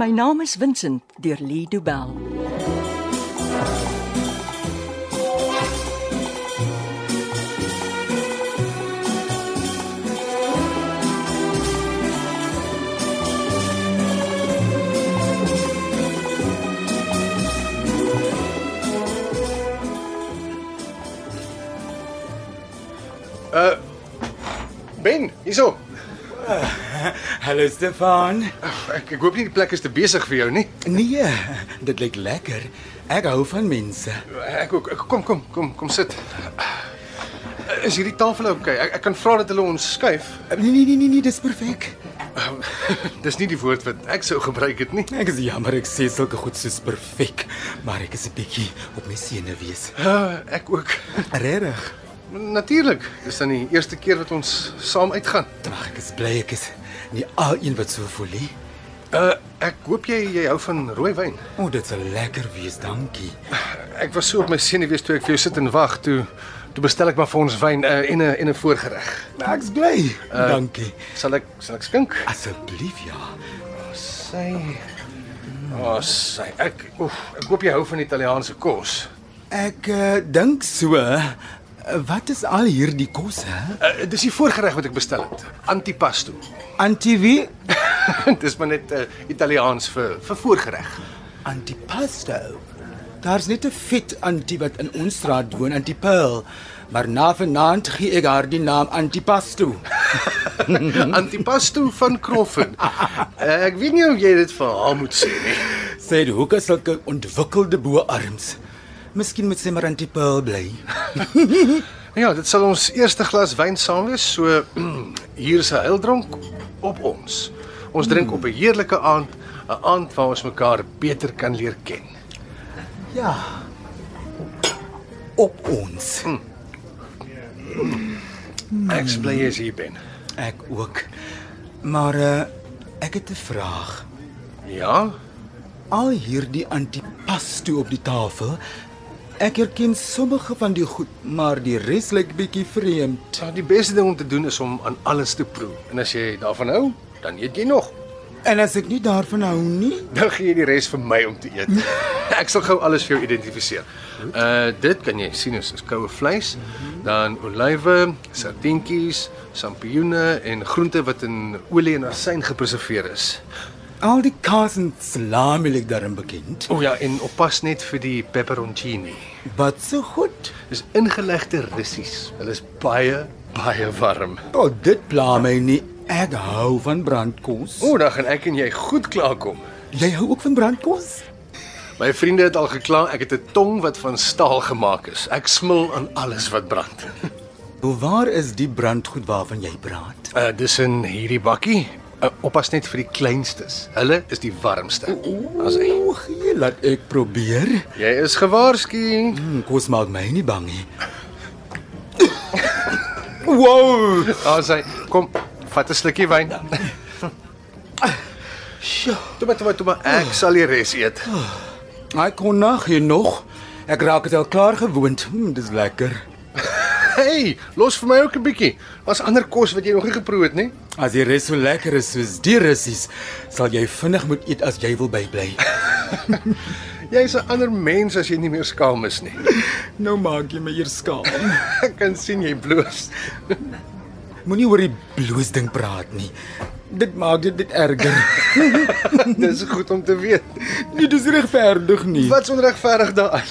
My naam is Vincent deur Lee Du Bell. Ben, hierso. Hallo Stefan. Ek ek hoop nie die plek is te besig vir jou nie. Nee, dit lyk lekker. Ek hou van mense. Ek ook. Ek- Kom, kom, kom, kom sit. Is hierdie tafel oukei? Okay? Ek, ek kan vra dat hulle ons skuif. Nee nee nee nee, nee dis perfek. Dis nie die woord wat ek sou gebruik het nie. Ek is jammer ek sê sulke goed soos perfek, maar ek is 'n bietjie op my senuwees. Uh, ek ook. Regtig? Natuurlik. Dis dan die eerste keer wat ons saam uitgaan. Ag, ek is bly ek is nie al een wat so voel nie. Uh, ek hoop jy jy hou van rooi wyn. O, dit sal lekker wees, dankie. Ek was so op my senuwees toe ek vir jou sit en wag toe toe bestel ek maar vir ons wyn uh, en 'n en 'n voorgereg. Ek's bly. Uh, dankie. Sal ek sal ek skink? Asseblief ja. Sy O, oh, sy. Ek oef, ek hoop jy hou van Italiaanse kos. Ek uh, dink so. Uh, Wat is al hierdie kos hè? Uh, dis die voorgereg wat ek bestel het. Antipasto. Antivi, dis maar net uh, Italiaans vir vir voorgereg. antipasto. Daar's net 'n vet anti wat in ons straat woon, Antipil. Maar na vanaand gee ek haar die naam Antipasto. Antipasto van Kroffen. Uh, ek weet nie of jy dit vir haar moet sê nie. Sy het hoeke sulke ontwikkelde boarms. Miskien moet sy maar Antipil bly. Ja, dit sal ons eerste glas wyn saam wees. So hier's 'n heildronk op ons. Ons drink op 'n heerlike aand, 'n aand waar ons mekaar beter kan leer ken. Ja. Op ons. Ek is bly jy is hier ben. Ek ook. Maar uh, ek het 'n vraag. Ja, Al hierdie antipasto op die tafel. Ek herken sommige van die goed, maar die res lyk bietjie vreemd. so Nou, die beste ding om te doen is om aan alles te proe. En as jy daarvan hou, dan eet jy nog. En as ek nie daarvan hou nie, Dan gee jy die res vir my om te eet. Ek sal gou alles vir jou identifiseer. Uh dit kan jy sien is, is koue vleis, dan olywe, sardientjies, sampioene en groente wat in olie en asyn gepreserveer is. al die kaas en salami lyk daarin bekend. O oh ja, en oppas net vir die pepperoncini. Wat so goed. Dis ingelegde russies. Hulle is baie baie warm. O, oh, dit pla my nie. Ek hou van brandkos. O, oh, dan gaan ek en jy goed klaarkom. jy hou ook van brandkos? My vriende het al gekla, ek het 'n tong wat van staal gemaak is. Ek smil aan alles wat brand. Hoe waar is die brandgoed waarvan jy praat? Uh dis in hierdie bakkie. Uh, oppas net vir die kleinstes. Hulle is die warmste. As hy. O, gee laat ek probeer. Jy is gewaarsku. Hmm, kos maak my nie bang nie. wow! As hy kom, vat 'n slukkie wyn. Sjoe. Toe maar toe maar toe maar ek sal die res eet. Hy kon nog hier nog. Ek raak dit al klaar gewoond. Hmm, dis lekker. Hey, los vir my ook 'n bietjie. Was ander kos wat jy nog nie geproe het nie? As die res so lekker is soos die russies, sal jy vinnig moet eet as jy wil bybly. Jy's 'n ander mens as jy nie meer skaam is nie. nou maak jy my eers skaam. Ek kan sien jy bloos. Moenie oor die bloos ding praat nie. Dit maak dit net erger. Dis goed om te weet. nie dis regverdig nie. Wat's onregverdig daaraan?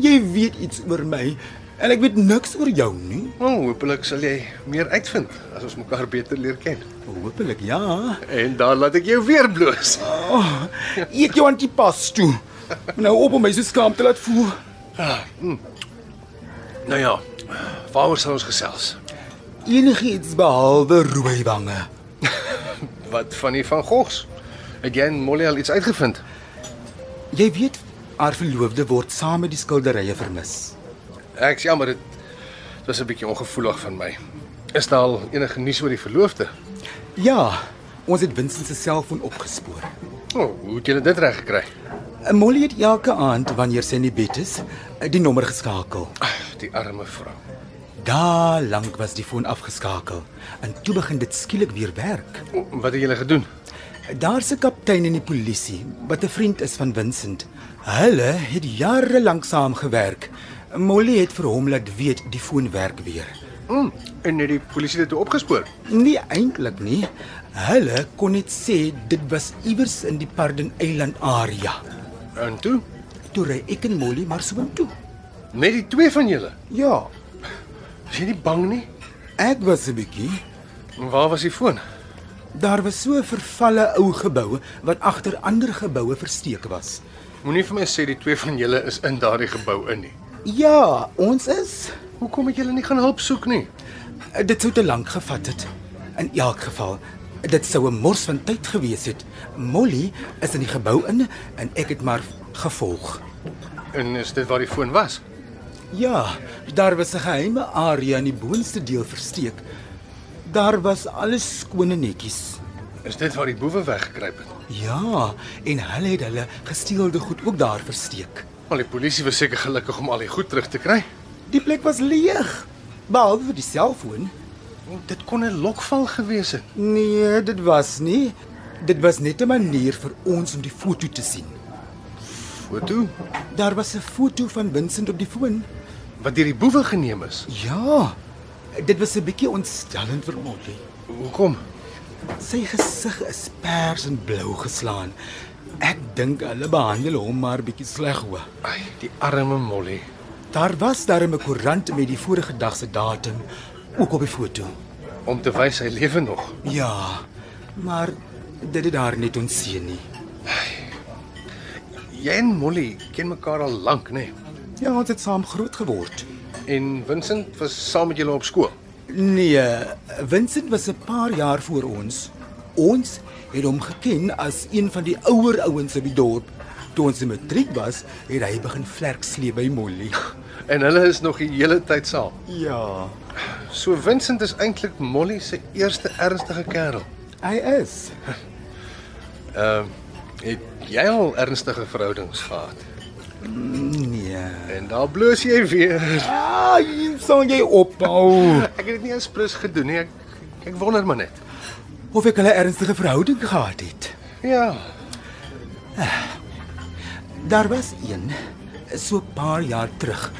Jy weet iets oor my en ek weet niks oor jou nie. O, oh, hopelik sal jy meer uitvind as ons mekaar beter leer ken. Hoopelik ja. En dan laat ek jou weer bloos. Oh, eet jou antipasto. Nou op om my so skaam te laat voel. Ah, hmm. Nou ja, waaroor sal ons gesels? Enigiets behalwe rooi wange. Wat van die van Gogs? Het jy en Molly al iets uitgevind? Jy weet, haar verloofde word saam met die skilderye vermis. Ek is jammer dit dit was 'n bietjie ongevoelig van my. Is daar al enige nuus oor die verloofde? Ja, ons het Vincent se selfoon opgespoor. Eh, O, oh, hoe het julle dit reg gekry? Molly het elke aand wanneer sy in die bed is, eh, die nommer geskakel. Ag, die arme vrou. Daar lank was die foon afgeskakel en toe begin dit skielik weer werk. O, Wat het julle gedoen? Daar's 'n kaptein in die polisie wat 'n vriend is van Vincent. Hulle het jare lank saam gewerk. Molly het vir hom laat weet die foon werk weer. Mm, en het die polisie dit toe opgespoor? Nie eintlik nie. Hulle kon net sê dit was iewers in die Pardon Eiland area. En toe, Toe ry ek en Molly maar soontoe. net die twee van julle. Ja, Is jy nie bang nie? ek was 'n bietjie En Waar was die foon? Daar was so 'n vervalle ou gebou wat agter ander geboue versteek was. Moenie vir my sê die twee van julle is in daardie gebou in nie. Ja, ons is Hoekom het julle nie gaan hulp soek nie? dit sou te lank gevat het. In elk geval, dit sou 'n mors van tyd gewees het. Molly is in die gebou in en ek het maar gevolg. En is dit waar die foon was? Ja, daar was 'n geheime area in die boonste deel versteek. Daar was alles skoon en netjies. Is dit waar die boewe weggekruip het? Ja, en hulle het hulle gesteelde goed ook daar versteek. Maar die polisie was seker gelukkig om al die goed terug te kry. Die plek was leeg, behalwe vir die selfoon. Dit kon 'n lokval gewees het. Nee, dit was nie. Dit was net 'n manier vir ons om die foto te sien. Foto Daar was 'n foto van Vincent op die foon. wat deur die boewe geneem is. Ja. Dit was 'n bietjie ontstellend vir Molly. Hoekom? Sy gesig is pers en blou geslaan. Ek dink hulle behandel hom maar bietjie sleg hoor. Ai, die arme Molly. Daar was daar 'n koerant met die vorige dag se datum ook op die foto. Om te wys hy lewe nog. Ja. Maar dit het haar net onseën nie. Jy en Molly ken mekaar al lank, nê? Nee? Ja, ons het saam groot geword. En Vincent was saam met julle op skool. Nee, Vincent was 'n paar jaar voor ons. Ons het hom geken as een van die ouer ouens op die dorp. Toe ons in matriek was, het hy begin vlerk sleep by Molly. En hulle is nog die hele tyd saam. Ja, So Vincent is eintlik Molly se eerste ernstige kerel. hy is. Ehm uh, het jy al ernstige verhoudings gehad? Nee. En daar bloos jy weer. Ah, jy sou jy ophou. Ek het dit nie eens plus gedoen nie. Ek ek wonder maar net. Of ek 'n ernstige verhouding gehad het. Ja, Daar was een so 'n paar jaar terug,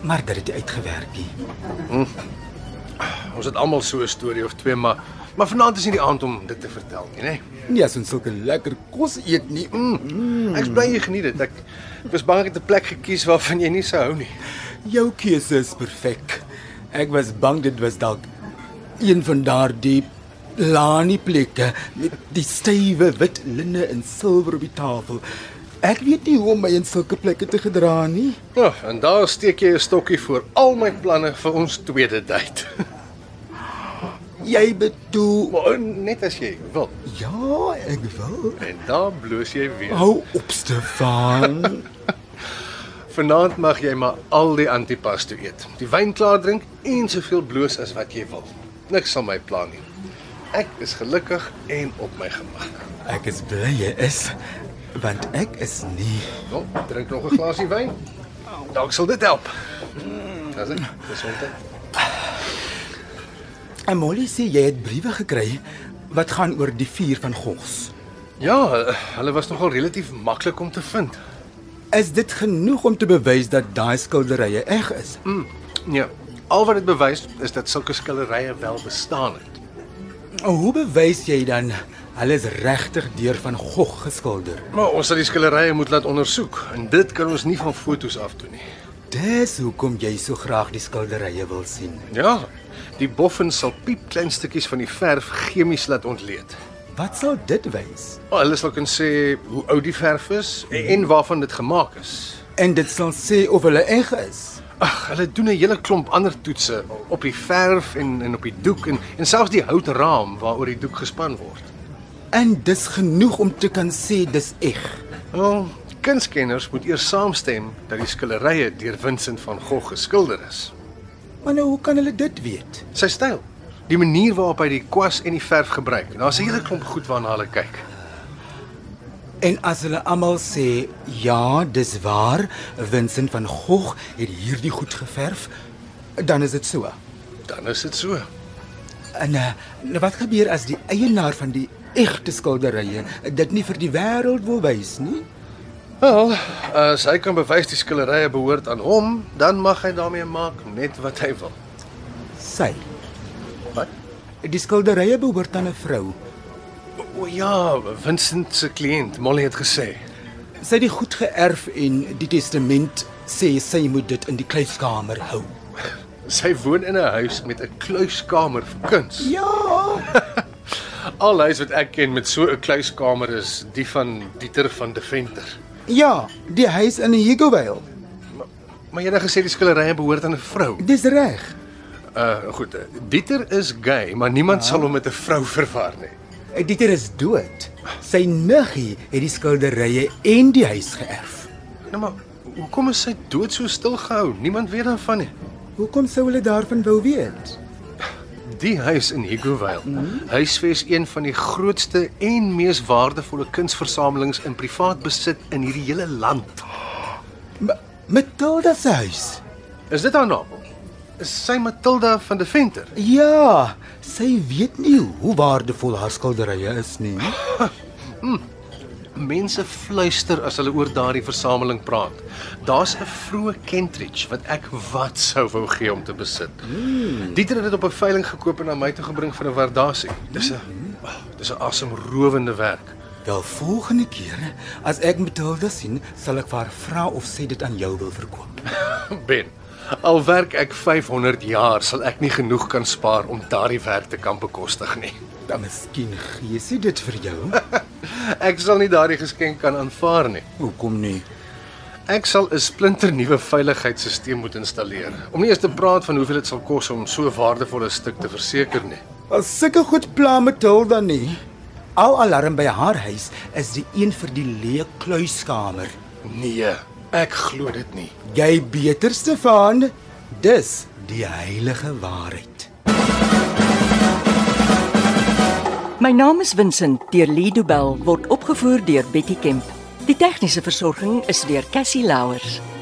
maar dit het nie uitgewerk nie. ons het almal so 'n storie of twee, maar maar vanaand is nie die aand om dit te vertel nie, nee. né? Nie Nee, as ons sulke lekker kos eet nie. Mm. Mm. Ek is bly jy geniet dit. Ek ek was bang ek het 'n plek gekies waarvan jy nie sou hou nie. Jou keuse is perfek. Ek was bang dit was dalk een van daardie lani plekke met die stywe wit linne en silwer op die tafel. Ek weet nie hoe om my in sulke plekke te gedra nie. Nou, en daar steek jy 'n stokkie vir al my planne vir ons tweede date. Jy bedoel Maar oh, net as jy wil. Ja, ek wil. En daar bloos jy weer. Hou op, Stefan. Vanaand mag jy maar al die antipas toe eet. Die wyn klaar drink en soveel bloos as wat jy wil. Niks sal my pla nie. Ek is gelukkig en op my gemak. ek is bly jy is want ek is nie. Nou, drink nog 'n glasie wyn. Dalk sal dit help. Dis ek. Gesondheid. En Molly sê jy het briewe gekry wat gaan oor die vuur van Gogh. Ja, hulle was nogal relatief maklik om te vind. Is dit genoeg om te bewys dat daai skilderye reg is? Mm, nee, al wat dit bewys is dat sulke skillerye wel bestaan het. Hoe bewys jy dan hulle is regtig deur van Gogh geskilder? Maar ons sal die skillerye moet laat ondersoek en dit kan ons nie van fotos af doen nie. Dis hoekom jy so graag die skilderye wil sien. Ja, die boffin sal piep klein stukkies van die verf chemies laat ontleed. Wat sal dit wys? Maar hulle sal kan sê hoe oud die verf is en, en waarvan dit gemaak is. En dit sal sê of hulle reg is. Ag, hulle doen 'n hele klomp ander toetse op die verf en en op die doek en en selfs die houtraam waaroor die doek gespan word. En dis genoeg om te kan sê dis reg. Wel, kunstkenners moet eers saamstem dat die skilderye deur Vincent van Gogh geskilder is. Maar nou hoe kan hulle dit weet? Sy styl, die manier waarop hy die kwas en die verf gebruik. Daar's 'n hele klomp goed waarna hulle kyk. En as hulle almal sê ja, dis waar, Vincent van Gogh het hierdie goed geverf, dan is dit so. Dan is dit so. eh, En uh, wat gebeur as die eienaar van die egte skilderye dit nie vir die wêreld wil wys nie. Wel, as hy kan bewys die skilderye behoort aan hom, dan mag hy daarmee maak net wat hy wil. Sy. Wat? Die skilderye behoort aan 'n vrou. O ja, Vincent se kliënt, Molly het gesê. Sy het die goed geërf en die testament sê sy moet dit in die kluiskamer hou. Sy woon in 'n huis met 'n kluiskamer vir kuns. Ja. Al huis wat ek ken met so 'n kluiskamer is die van Dieter van de Venter. Ja, die huis in Higgovale. Maar jy het gesê die skilderye behoort aan 'n vrou. Dis reg. Uh goed, eh, Dieter is gay, maar niemand sal hom met 'n vrou verwar nie. Dieter is dood. Sy niggie het die skilderye en die huis geërf. Nou maar, hoekom is sy dood so stil gehou? Niemand weet daarvan nie. Hoekom sou hulle daarvan wou weet? Die huis in Higgovale. Huisves een van die grootste en mees waardevolle kunsversamelings in privaat besit in hierdie hele land. M Matilda se huis. Is dit haar naam? Is sy Matilda van de Venter? Ja, sy weet nie hoe waardevol haar skilderye is nie. Mense fluister as hulle oor daardie versameling praat. Daar's 'n vroeë Kentridge wat ek wat sou wou gee om te besit. Hmm. Dieter het dit op 'n veiling gekoop en na my toe gebring vir 'n waardasie. Dis 'n oh, dis 'n asemrowende werk. Wel volgende keer as ek Matilda sien, sal ek vir haar vra of sy dit aan jou wil verkoop. Ben, al werk ek 500 jaar, sal ek nie genoeg kan spaar om daardie werk te kan bekostig nie. Dan miskien gee sy dit vir jou. Ek sal nie daardie geskenk kan aanvaar nie. Hoekom nie? Ek sal 'n splinternuwe veiligheidsstelsel moet installeer. Om nie eers te praat van hoeveel dit sal kos om so 'n waardevolle stuk te verseker nie. As sulke goed pla Matilda nie. Al alarm by haar huis is die een vir die leë kluiskamer. Nee, ek glo dit nie. Jy beter Stefan, dis die heilige waarheid. My naam is Vincent deur Lido Bell word opgevoer deur Betty Kemp. Die tegniese versorging is deur Cassie Louers.